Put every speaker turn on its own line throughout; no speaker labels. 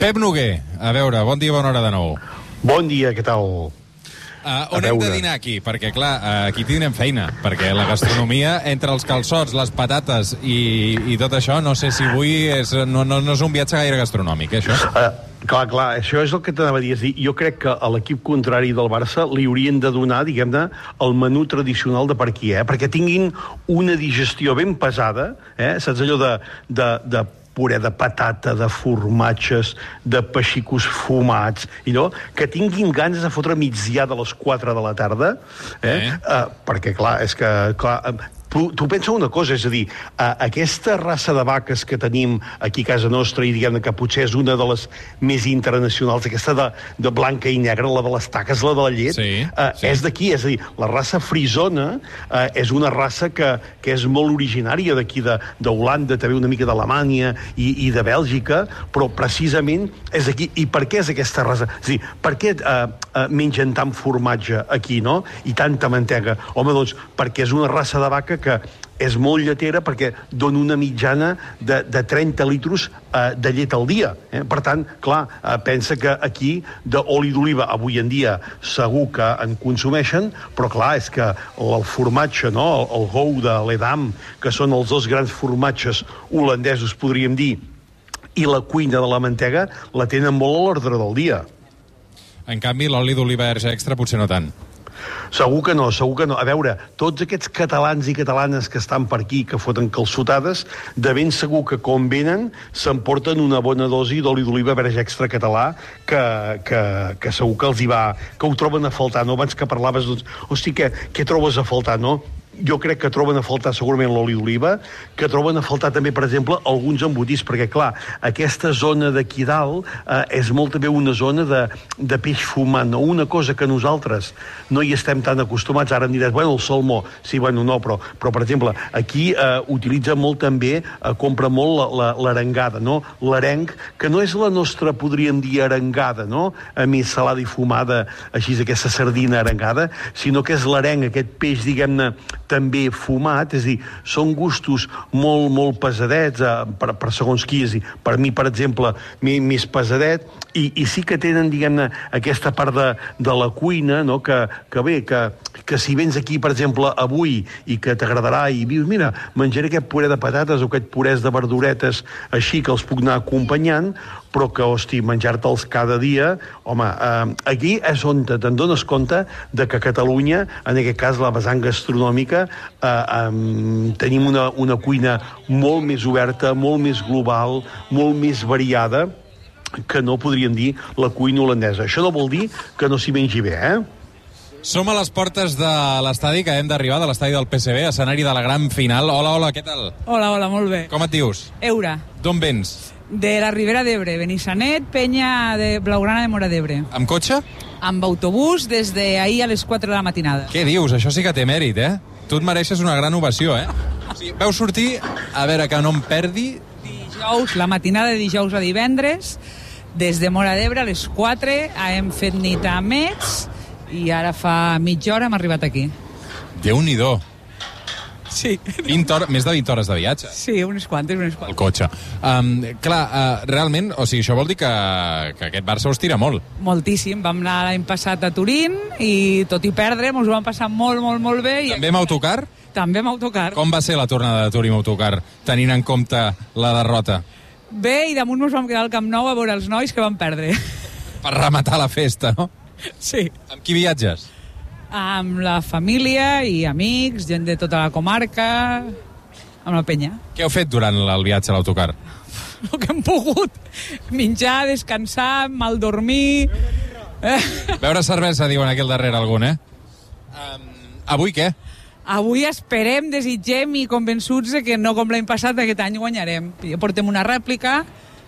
Pep Noguer, a veure, bon dia, bona hora de nou.
Bon dia, què tal?
Uh,
A
on hem de
veure.
dinar aquí? Perquè, clar, uh, aquí tindrem feina, perquè la gastronomia, entre els calçots, les patates i, i tot això, no sé si avui és, no, no, no és un viatge gaire gastronòmic, eh, això.
Uh, clar, clar, això és el que t'anava a dir. És a dir. Jo crec que a l'equip contrari del Barça li haurien de donar, diguem-ne, el menú tradicional de per aquí, eh? perquè tinguin una digestió ben pesada, eh? saps allò de, de, de puré de patata, de formatges, de peixicos fumats, i allò, que tinguin ganes de fotre migdiada a les 4 de la tarda, eh?
Eh?
eh? Uh, perquè, clar, és que... Clar, eh, tu, tu pensa una cosa, és a dir, uh, aquesta raça de vaques que tenim aquí a casa nostra, i diguem que potser és una de les més internacionals, aquesta de, de blanca i negra, la de les taques, la de la llet,
Sí,
eh,
sí.
és d'aquí, és a dir, la raça frisona eh, és una raça que, que és molt originària d'aquí de- d'Holanda, també una mica d'Alemanya i, i de Bèlgica, però precisament és aquí. I per què és aquesta raça? És a dir, per què eh, eh, mengen tant formatge aquí, no?, i tanta mantega? Home, doncs, perquè és una raça de vaca que és molt lletera perquè dona una mitjana de, de 30 litros eh, de llet al dia. Eh? Per tant, clar, eh, pensa que aquí d'oli d'oliva avui en dia segur que en consumeixen, però clar, és que el formatge, no? el, el gou de l'edam, que són els dos grans formatges holandesos, podríem dir, i la cuina de la mantega la tenen molt a l'ordre del dia.
En canvi, l'oli d'oliva verge extra potser no tant.
Segur que no, segur que no. A veure, tots aquests catalans i catalanes que estan per aquí, que foten calçotades, de ben segur que com venen s'emporten una bona dosi d'oli d'oliva verge extra català que, que, que segur que els hi va... que ho troben a faltar, no? Abans que parlaves, doncs, hosti, què, què trobes a faltar, no? jo crec que troben a faltar segurament l'oli d'oliva, que troben a faltar també, per exemple, alguns embotits, perquè, clar, aquesta zona d'aquí dalt eh, és molt també una zona de, de peix fumant, no? una cosa que nosaltres no hi estem tan acostumats. Ara em diràs, bueno, el salmó, sí, bueno, no, però, però per exemple, aquí eh, utilitza molt també, eh, compra molt la- la- l'arengada, la, no? L'arenc, que no és la nostra, podríem dir, arengada, no? A més, salada i fumada, així, aquesta sardina arengada, sinó que és l'arenc, aquest peix, diguem-ne, també fumat, és a dir, són gustos molt, molt pesadets eh, per, per segons qui, és a dir, per mi, per exemple, mi- més pesadet, i, i sí que tenen, diguem-ne, aquesta part de, de la cuina, no?, que, que bé, que, que si vens aquí, per exemple, avui, i que t'agradarà, i dius, mira, menjaré aquest puré de patates o aquest purès de verduretes, així que els puc anar acompanyant, però que, hosti, menjar-te'ls cada dia... Home, eh, aquí és on te- te'n dones compte de que a Catalunya, en aquest cas la vessant gastronòmica, eh, eh, tenim una, una cuina molt més oberta, molt més global, molt més variada, que no podríem dir la cuina holandesa. Això no vol dir que no s'hi mengi bé, eh?
Som a les portes de l'estadi que hem d'arribar, de l'estadi del PSV, escenari de la gran final. Hola, hola, què tal?
Hola, hola, molt bé.
Com et dius?
Eura,
D'on vens?
de la Ribera d'Ebre, Benissanet, Penya de Blaugrana de Mora d'Ebre.
Amb cotxe?
Amb autobús des d'ahir a les 4 de la matinada.
Què dius? Això sí que té mèrit, eh? Tu et mereixes una gran ovació, eh? O sigui, veu sortir, a veure que no em perdi...
Dijous, la matinada de dijous a divendres, des de Mora d'Ebre a les 4, hem fet nit a Mets i ara fa mitja hora hem arribat aquí.
Déu-n'hi-do.
Sí,
20 hores, més de 20 hores de viatge.
sí, unes quantes, unes
El
quantes.
cotxe. Um, clar, uh, realment, o sigui, això vol dir que, que aquest Barça us tira molt.
Moltíssim, vam anar l'any passat a Turín i tot i perdre ens ho vam passar molt, molt, molt bé. I
També amb autocar?
També amb autocar.
Com va ser la tornada de Turim autocar, tenint en compte la derrota?
Bé, i damunt ens vam quedar al Camp Nou a veure els nois que van perdre.
Per rematar la festa, no?
Sí.
Amb qui viatges?
Amb la família i amics, gent de tota la comarca, amb la penya.
Què heu fet durant el viatge a l'autocar?
El que hem pogut. Menjar, descansar, mal dormir... Eh,
Veure cervesa, diuen aquí al darrere algun, eh? Um, avui què?
Avui esperem, desitgem i convençuts de que no com l'any passat, aquest any guanyarem. I Portem una rèplica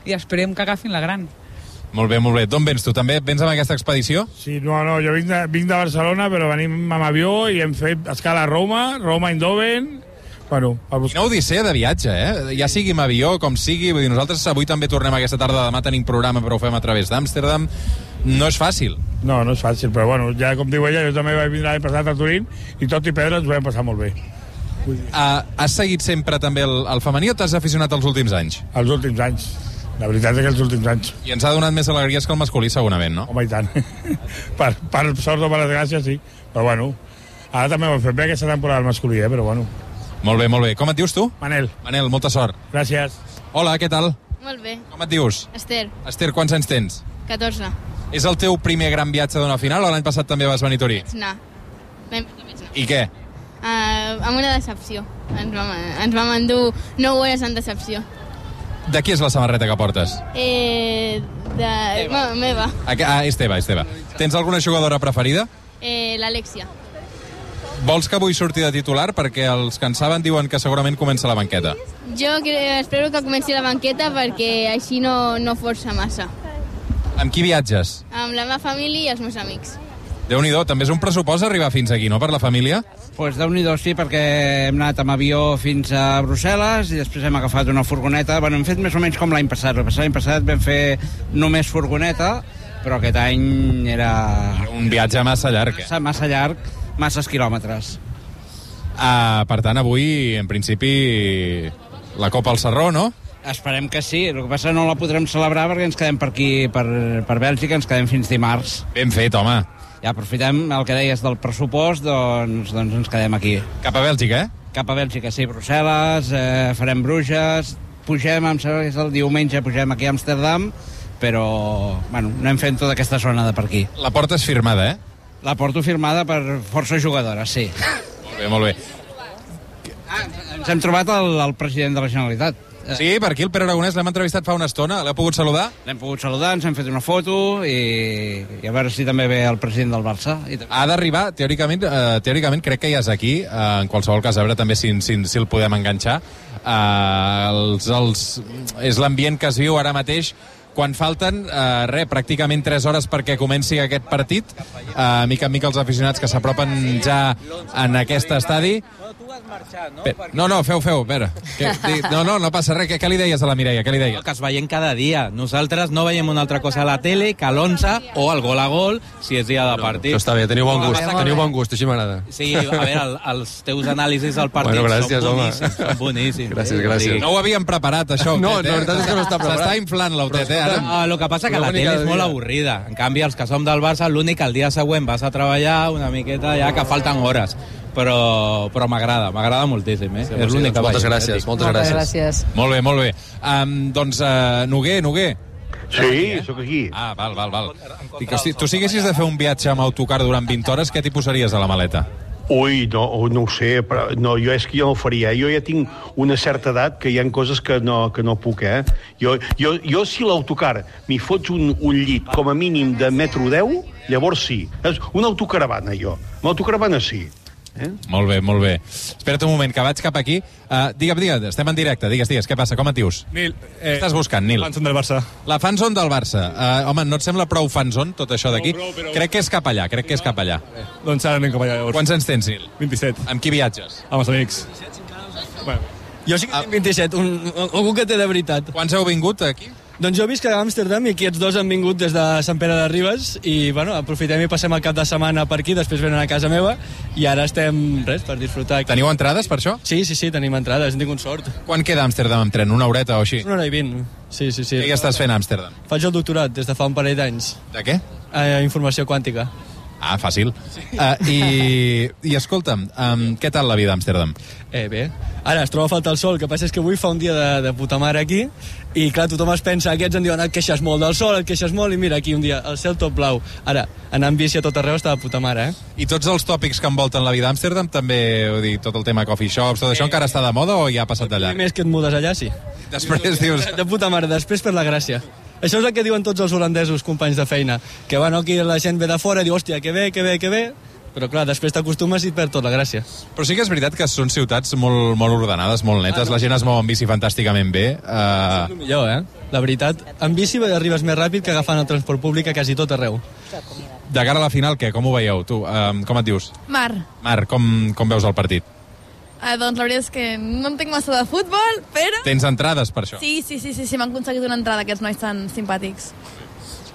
i esperem que agafin la gran.
Molt bé, molt bé. D'on vens tu? També vens amb aquesta expedició?
Sí, no, no, jo vinc de, vinc de Barcelona, però venim amb avió i hem fet escala a Roma, Roma, Eindhoven... Bueno, per buscar...
Quina odissea de viatge, eh? Ja sigui amb avió, com sigui, vull dir, nosaltres avui també tornem aquesta tarda, demà tenim programa, però ho fem a través d'Amsterdam. No és fàcil.
No, no és fàcil, però bueno, ja com diu ella, jo també vaig vindre l'any passat a Turín i tot i pedra ens ho vam passar molt bé.
Ah, Uh, has seguit sempre també el, el femení o t'has aficionat els últims anys?
els últims anys. La veritat és que els últims anys,
I ens ha donat més alegries que el masculí, segurament, no?
home, i tant. per, per sort o per desgràcia, sí. Però bueno, ara també ho hem fet bé aquesta temporada el masculí, eh? però bueno.
Molt bé, molt bé. Com et dius tu?
Manel,
Manel, molta sort.
gràcies.
Hola, què tal?
Molt bé.
Com et dius?
Esther,
Esther, quants anys tens?
14.
És el teu primer gran viatge d'una final o l'any passat també vas venir a Torí?
Vaig anar. Vam- Vaig anar.
I què?
Uh, amb una decepció. Ens vam, ens vam endur 9 hores en decepció.
De qui és la samarreta que portes?
Eh, de... Meva. meva.
A que- Ah, és teva, és teva. Tens alguna jugadora preferida?
Eh, L'Alexia.
Vols que avui surti de titular? Perquè els que en saben diuen que segurament comença la banqueta.
Jo cre- espero que comenci la banqueta perquè així no, no força massa.
Amb qui viatges?
Amb la meva família i els meus amics.
déu nhi també és un pressupost arribar fins aquí, no?, per la família?
Pues déu nhi sí, perquè hem anat amb avió fins a Brussel·les i després hem agafat una furgoneta. Bueno, hem fet més o menys com l'any passat. L'any passat vam fer només furgoneta, però aquest any era
Un viatge massa llarg. Eh?
massa, massa llarg, masses quilòmetres.
Ah, per tant, avui, en principi, la Copa al Serró, no?
Esperem que sí. El que passa no la podrem celebrar perquè ens quedem per aquí, per, per Bèlgica, ens quedem fins dimarts.
Ben fet, home.
Ja aprofitem el que deies del pressupost, doncs, doncs ens quedem aquí.
Cap a Bèlgica, eh?
Cap a Bèlgica, sí, Brussel·les, eh, farem Bruges, pugem, em sembla que és el diumenge, pugem aquí a Amsterdam, però, bueno, anem fent tota aquesta zona de per aquí.
La porta és firmada, eh?
La porto firmada per força jugadora, sí.
Molt bé, molt bé.
Ah, ens hem trobat el, el president de la Generalitat. Eh,
Sí, per aquí el Pere Aragonès l'hem entrevistat fa una estona, l'he pogut saludar.
L'hem pogut saludar, ens hem fet una foto i, i a veure si també ve el president del Barça. I també...
Ha d'arribar, teòricament, eh, teòricament crec que ja és aquí, eh, en qualsevol cas, a veure també si, si, si el podem enganxar. Eh, els, els, és l'ambient que es viu ara mateix quan falten, eh, re, pràcticament 3 hores perquè comenci aquest partit. Eh, mica en mica els aficionats que s'apropen ja en aquest estadi.
Tu has marxat, no?
Pe- No, no, feu, feu, Pere. Que, di- no, no, no passa res. Què, què li deies a la Mireia? Què li deies?
que es veiem cada dia. Nosaltres no veiem una altra cosa a la tele que l'11 o el gol a gol si és dia de partit.
Això està bé, teniu bon
Home,
gust,
passa que-
teniu bon gust, així m'agrada.
Sí, a veure, el, els teus anàlisis del partit
Bueno, gràcies,
són
home.
boníssims. Són boníssims.
Gràcies,
Eh,
gràcies.
No ho havíem preparat, això.
No,
Autet, eh?
la veritat és que no està preparat.
S'està inflant l'autet, eh, ara?
Ah, el que passa que
Una
la
mica
tele és
de
molt
vida.
avorrida. En canvi, els que som del Barça, l'únic que el dia següent vas a treballar una miqueta ja que falten hores. Però, però m'agrada, m'agrada moltíssim. Eh? és l'únic que veig,
Moltes
eh,
gràcies,
dic.
moltes gràcies.
gràcies.
Molt bé, molt bé. Um, doncs, uh, Noguer, Noguer.
Sí, sóc aquí.
Ah, val, val, val. Dic, hosti, tu si haguessis de fer un viatge amb autocar durant 20 hores, què t'hi posaries a la maleta?
Ui, no, oh, no ho sé, però no, jo és que jo no ho faria. eh? Jo ja tinc una certa edat que hi han coses que no, que no puc, eh? Jo, jo, jo si l'autocar m'hi fots un, un llit com a mínim de metro 10, llavors sí. És una autocaravana, jo. Una autocaravana sí. Eh?
Molt bé, molt bé. Espera't un moment, que vaig cap aquí. Uh, digue'm, digue'm, estem en directe, digues, digues, què passa, com et dius?
Nil,
Eh, Estàs buscant, Nil.
Fanson del Barça.
La fanzone del Barça. Uh, home, no et sembla prou fanzone, tot això d'aquí?
prou, però-
Crec que és cap allà, crec que és cap allà.
Doncs ara anem cap allà, llavors.
Quants anys tens, Nil?
27.
Amb qui viatges?
Amb els amics.
Jo sí que tinc 27, un, un- algú que té de veritat.
Quants heu vingut aquí?
Doncs jo visc a Amsterdam i aquests dos han vingut des de Sant Pere de Ribes i, bueno, aprofitem i passem el cap de setmana per aquí, després venen a casa meva i ara estem, res, per disfrutar aquí.
Teniu entrades per això?
Sí, sí, sí, tenim entrades, hem tingut sort.
Quan queda a Amsterdam amb tren? Una horeta o així?
Una hora i vint. Sí, sí, sí.
Què hi estàs fent a Amsterdam?
Faig el doctorat des de fa un parell d'anys.
De què?
Eh, informació quàntica.
Ah, fàcil. Uh, i, I escolta'm, um, què tal la vida a Amsterdam?
Eh, bé. Ara, es troba a faltar el sol, el que passa és que avui fa un dia de, de puta mare aquí i, clar, tothom es pensa, aquests en diuen et queixes molt del sol, et queixes molt, i mira, aquí un dia el cel tot blau. Ara, anar amb bici a tot arreu està de puta mare, eh?
I tots els tòpics que envolten la vida a Amsterdam, també, vull dir, tot el tema coffee shops, tot això encara està de moda o ja ha passat d'allà?
I més que et mudes allà, sí.
Després dius...
De puta mare, després per la gràcia. Això és el que diuen tots els holandesos, companys de feina, que bueno, aquí la gent ve de fora i diu, hòstia, que bé, que bé, que bé, però clar, després t'acostumes i et perd tot la gràcia.
Però sí que és veritat que són ciutats molt, molt ordenades, molt netes, la gent es mou en bici fantàsticament bé. Uh,
El millor, eh? La veritat, amb bici arribes més ràpid que agafant el transport públic a quasi tot arreu.
de cara a la final, què? Com ho veieu, tu? Um, com et dius?
Mar,
Marc, com, com veus el partit?
eh, doncs la veritat és que no entenc massa de futbol, però...
Tens entrades per això?
Sí, sí, sí, sí, sí m'han aconseguit una entrada, aquests nois tan simpàtics.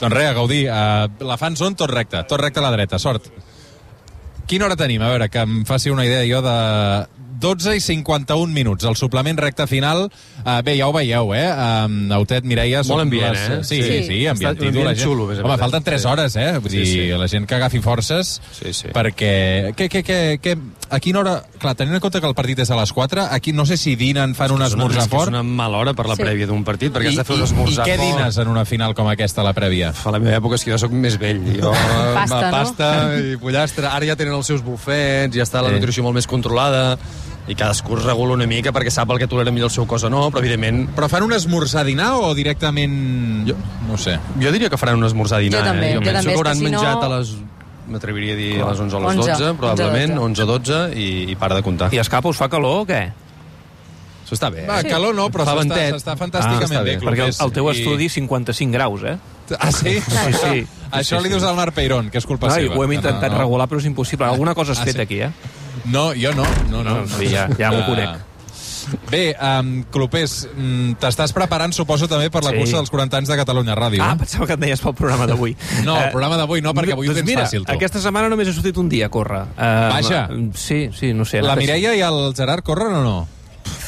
Doncs res, a gaudir. Uh, la fan són tot recte, tot recte a la dreta, sort. Quina hora tenim? A veure, que em faci una idea jo de, 12 i 51 minuts. El suplement recte final, eh, bé, ja ho veieu, eh? Um, Autet, Mireia... són
Molt ambient,
les-
eh?
Sí, sí,
Sí.
sí,
Està-
ambientito.
un ambient
la gent.
xulo, a més a
Home,
més.
falten 3
Sí.
hores, eh? Vull dir,
Sí, sí.
la gent que agafi forces... Sí, sí. Perquè... Que, que, que, que, a quina hora... Clar, tenint en compte que el partit és a les 4, aquí no sé si dinen, fan un
és una-
esmorzar
és que és
fort...
una mala hora per la Sí. prèvia d'un partit, perquè has de fer un esmorzar
I, i què
fort.
dines en una final com aquesta, a la prèvia?
A la meva època és que jo sóc més vell. Jo,
Pasta,
ma-
no?
pasta i pollastre. Ara ja tenen els seus bufets, ja està la
Sí.
nutrició molt més controlada i cadascú es regula una mica perquè sap el que tolera millor el seu cos o no, però evidentment...
Però fan un esmorzar-dinar o directament... Jo, no sé.
Jo diria que faran un esmorzar-dinar.
Jo també,
eh?
jo
penso
també, és
que hauran
que si no-
menjat a les m'atreviria a dir a les 11 o a les
11,
12, probablement, 11 12, i, i para de comptar. I escapa, us fa calor o què? Això està bé.
Va,
eh?
calor no, però
Fa
s'està-
ventet.
s'està fantàsticament
està
Ah, bé,
Perquè el,
Clopés,
el teu
i-
estudi 55 graus, eh?
Ah, sí?
Sí, sí.
Això li dius al Marc Peirón, que és culpa
Ai,
seva.
Ho hem intentat
No, no.
regular, però és impossible. Alguna cosa has
Ah,
fet
sí.
aquí, eh?
No, jo no. No, no.
No, sí, ja- ja m'ho
Ah.
conec.
Bé, um, Clopés, mm, t'estàs preparant, suposo, també per la
Sí.
cursa dels 40 anys de Catalunya Ràdio.
Ah,
eh?
pensava que et deies pel programa d'avui.
No, el
Eh,
programa d'avui no, perquè avui ho
doncs
tens
mira,
fàcil, tu.
aquesta setmana només he sortit un dia a córrer. Uh,
Vaja.
Sí, sí, no sé.
La Mireia i el Gerard corren o no?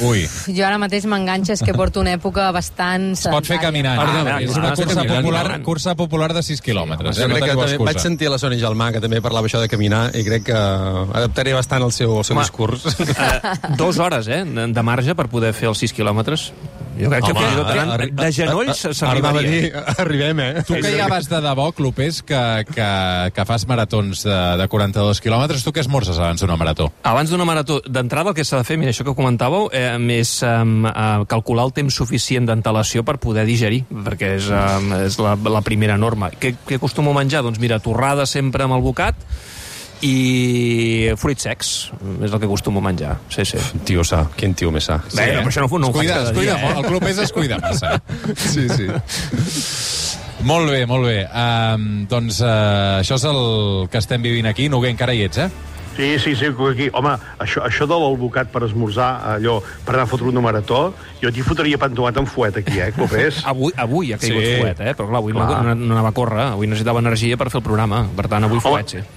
Ui, es
Jo ara mateix m'enganxes que porto una època bastant... Es
pot fer caminant. Ah,
Perdona,
és
no,
una
no,
cursa
caminant,
popular,
caminant.
cursa popular de 6 quilòmetres.
Jo
eh? No
crec que
teniu
també
excusa.
vaig sentir la Sònia Gelmà, que també parlava això de caminar, i crec que Eh, adaptaré bastant el seu, el seu discurs.
Uh, dos hores, eh, de marge per poder fer els 6 quilòmetres. Jo crec que
Home,
fins i tot
ara-
de genolls
ara-
s'arribaria.
anava a dir, arribem, eh?
Tu que ja vas de debò, Clopés, que, que, que fas maratons de, de 42 quilòmetres, tu què esmorzes abans d'una marató?
Abans d'una marató, d'entrada el que s'ha de fer, mira, això que comentàveu, eh, és eh, eh, calcular el temps suficient d'antelació per poder digerir, perquè és, eh, és la, la primera norma. Què, què acostumo a menjar? Doncs mira, torrada sempre amb el bocat i fruits secs, és el que acostumo a menjar. Sí, sí.
Tio sa, quin tio més sa.
Bé, però això Eh, no, ho- no ho
es cuida,
faig
es
cada
cuida
dia,
molt,
eh?
el Clopés es cuida massa. Sí, sí. Molt bé, molt bé. Um, doncs uh, això és el que estem vivint aquí. No, encara hi ets, eh?
Sí, sí, sí, aquí. Home, això, això de l'albocat per esmorzar, allò, per anar a fotre una marató, jo t'hi fotria pan tomat amb fuet aquí, eh, Clopés?
Avui, avui ha caigut
Sí.
sí. fuet, eh? però clar, avui
Clar.
No, no anava a córrer, avui necessitava energia per fer el programa, per tant, avui eh? fuet, sí.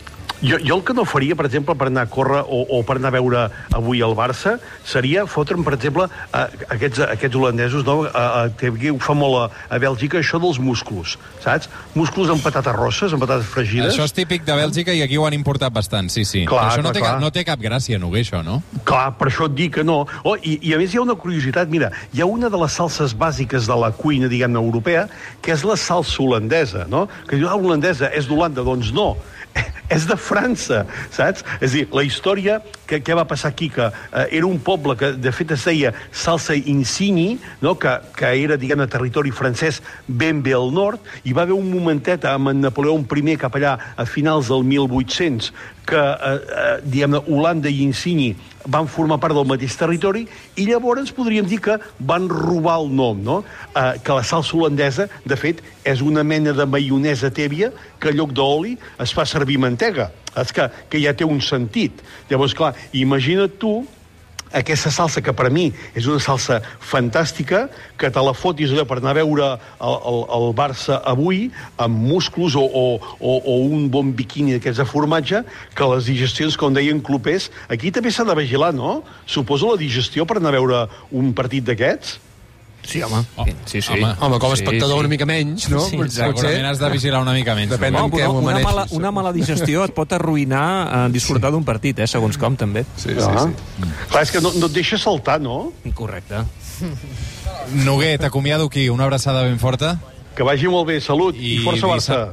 Jo, jo el que no faria, per exemple, per anar a córrer o, o per anar a veure avui el Barça, seria fotre'm, per exemple, a, aquests, aquests holandesos, no? a, a, que aquí ho fa molt a, a Bèlgica, això dels músculs, saps? Músculs amb patates rosses, amb patates fregides.
Això és típic de Bèlgica i aquí ho han importat bastant, sí, sí.
Clar,
Però això no,
clar,
té, cap-
clar.
no té cap gràcia, Noguer, això, no?
Clar, per això et dic que no. Oh, i, I a més hi ha una curiositat, mira, hi ha una de les salses bàsiques de la cuina, diguem-ne, europea, que és la salsa holandesa, no? Que diu, ah, holandesa, és d'Holanda, doncs no, és de França, saps? És a dir, la història que, que va passar aquí, que eh, era un poble que de fet es deia Salsa Insigni, no? que, que era, diguem-ne, territori francès ben bé al nord, i va haver un momentet amb en Napoleó I cap allà a finals del 1800 que, eh, eh, diguem-ne, Holanda i Insigni van formar part del mateix territori i llavors podríem dir que van robar el nom, no? Eh, que la salsa holandesa, de fet, és una mena de maionesa tèbia que en lloc d'oli es fa servir mantega. És que, que ja té un sentit. Llavors, clar, imagina't tu aquesta salsa que per mi és una salsa fantàstica, que te la fotis allò per anar a veure el, el, el Barça avui amb musclos o, o, o, o un bon biquini d'aquests de formatge, que les digestions, com deien Clopés, aquí també s'ha de vigilar, no? Suposo la digestió per anar a veure un partit d'aquests?
Sí, home.
Oh,
Sí, sí.
Home, home, com a espectador una mica
menys, no?
Sí,
Potser- segurament has de vigilar una mica menys.
Depèn
no?
no, però una, mala, una mala digestió et pot arruïnar eh, disfrutar d'un partit, eh, segons com, també.
Sí, sí. Ah. Clar, és que no, no et deixa saltar, no?
Correcte.
Noguer, t'acomiado aquí. Una abraçada ben forta.
Que vagi molt bé. Salut i força Barça.